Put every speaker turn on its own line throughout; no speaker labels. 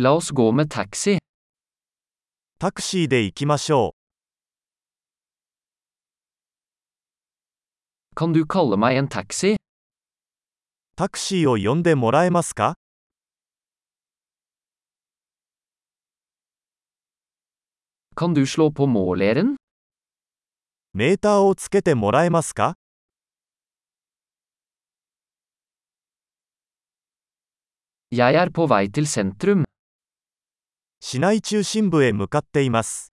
La oss gå med taxi.
タクシーで行きましょ
Kan du kalle meg en taxi?
う。タクシーを呼んでもらえますか
Kan du slå på måleren?
メーターをつけてもらえますか
Jeg er på vei til sentrum.
市内中心部へ向かっています。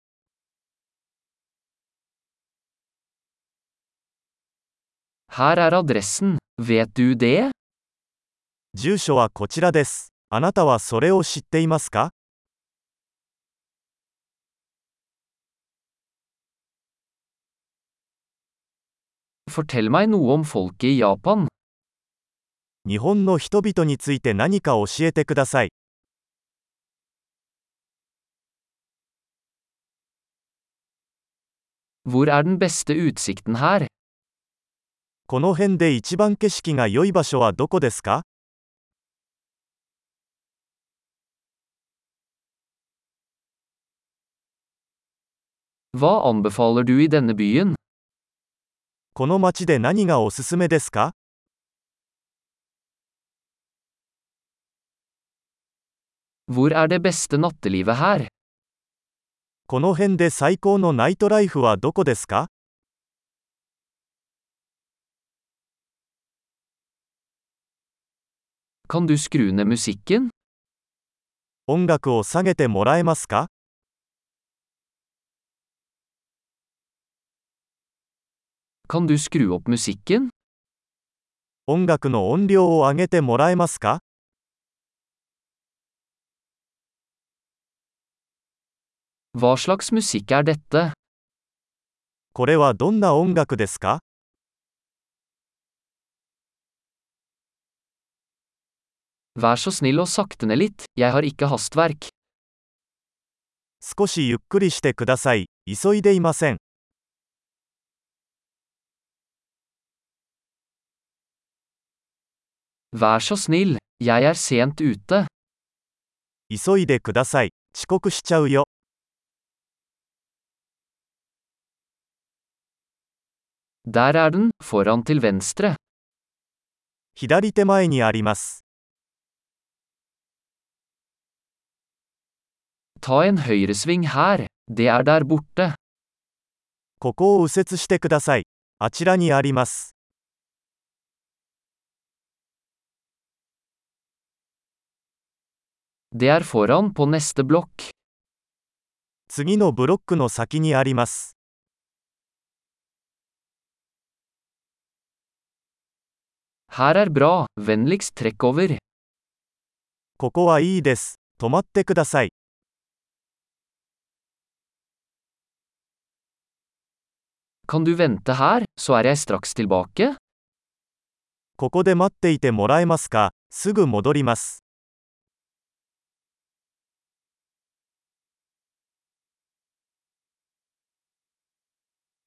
Her er adressen. Vet du det?
住所はこちらです。あなたはそれを知っていますか
Fortell meg noe om folket i Japan.
日本の人々について何か教えてください。
Hvor er den beste utsikten her?
この辺で一番景色が良い場所はどこですか
Hva anbefaler du i denne byen?
この街で何がおすすめですか
Hvor er det beste nattelivet her?
この辺で最高のナイトライフはどこですか
Kan du skru ned musikken?
音楽を下げてもらえますか
Kan du skru opp musikken?
音楽の音量を上げてもらえますか
Hva slags musikk er dette?
これはどんな音楽ですか
Vær så snill og sakte ned litt, jeg har ikke hastverk.
少しゆっくりしてください。急いでいません。
Vær så snill, jeg er sent ute.
急いでください。遅刻しちゃうよ。
Der er den, foran til venstre.
左手前にあります。
Ta en høyresving her. Det er der borte.
ここを右折してください。あちらにあります。
Det er foran på neste blokk.
次のブロックの先にあります。
Her er bra, vennligst trekk over.
ここはいいです。止まってください。
Kan du vente her, så er jeg straks tilbake?
ここで待っていてもらえますかすぐ戻ります。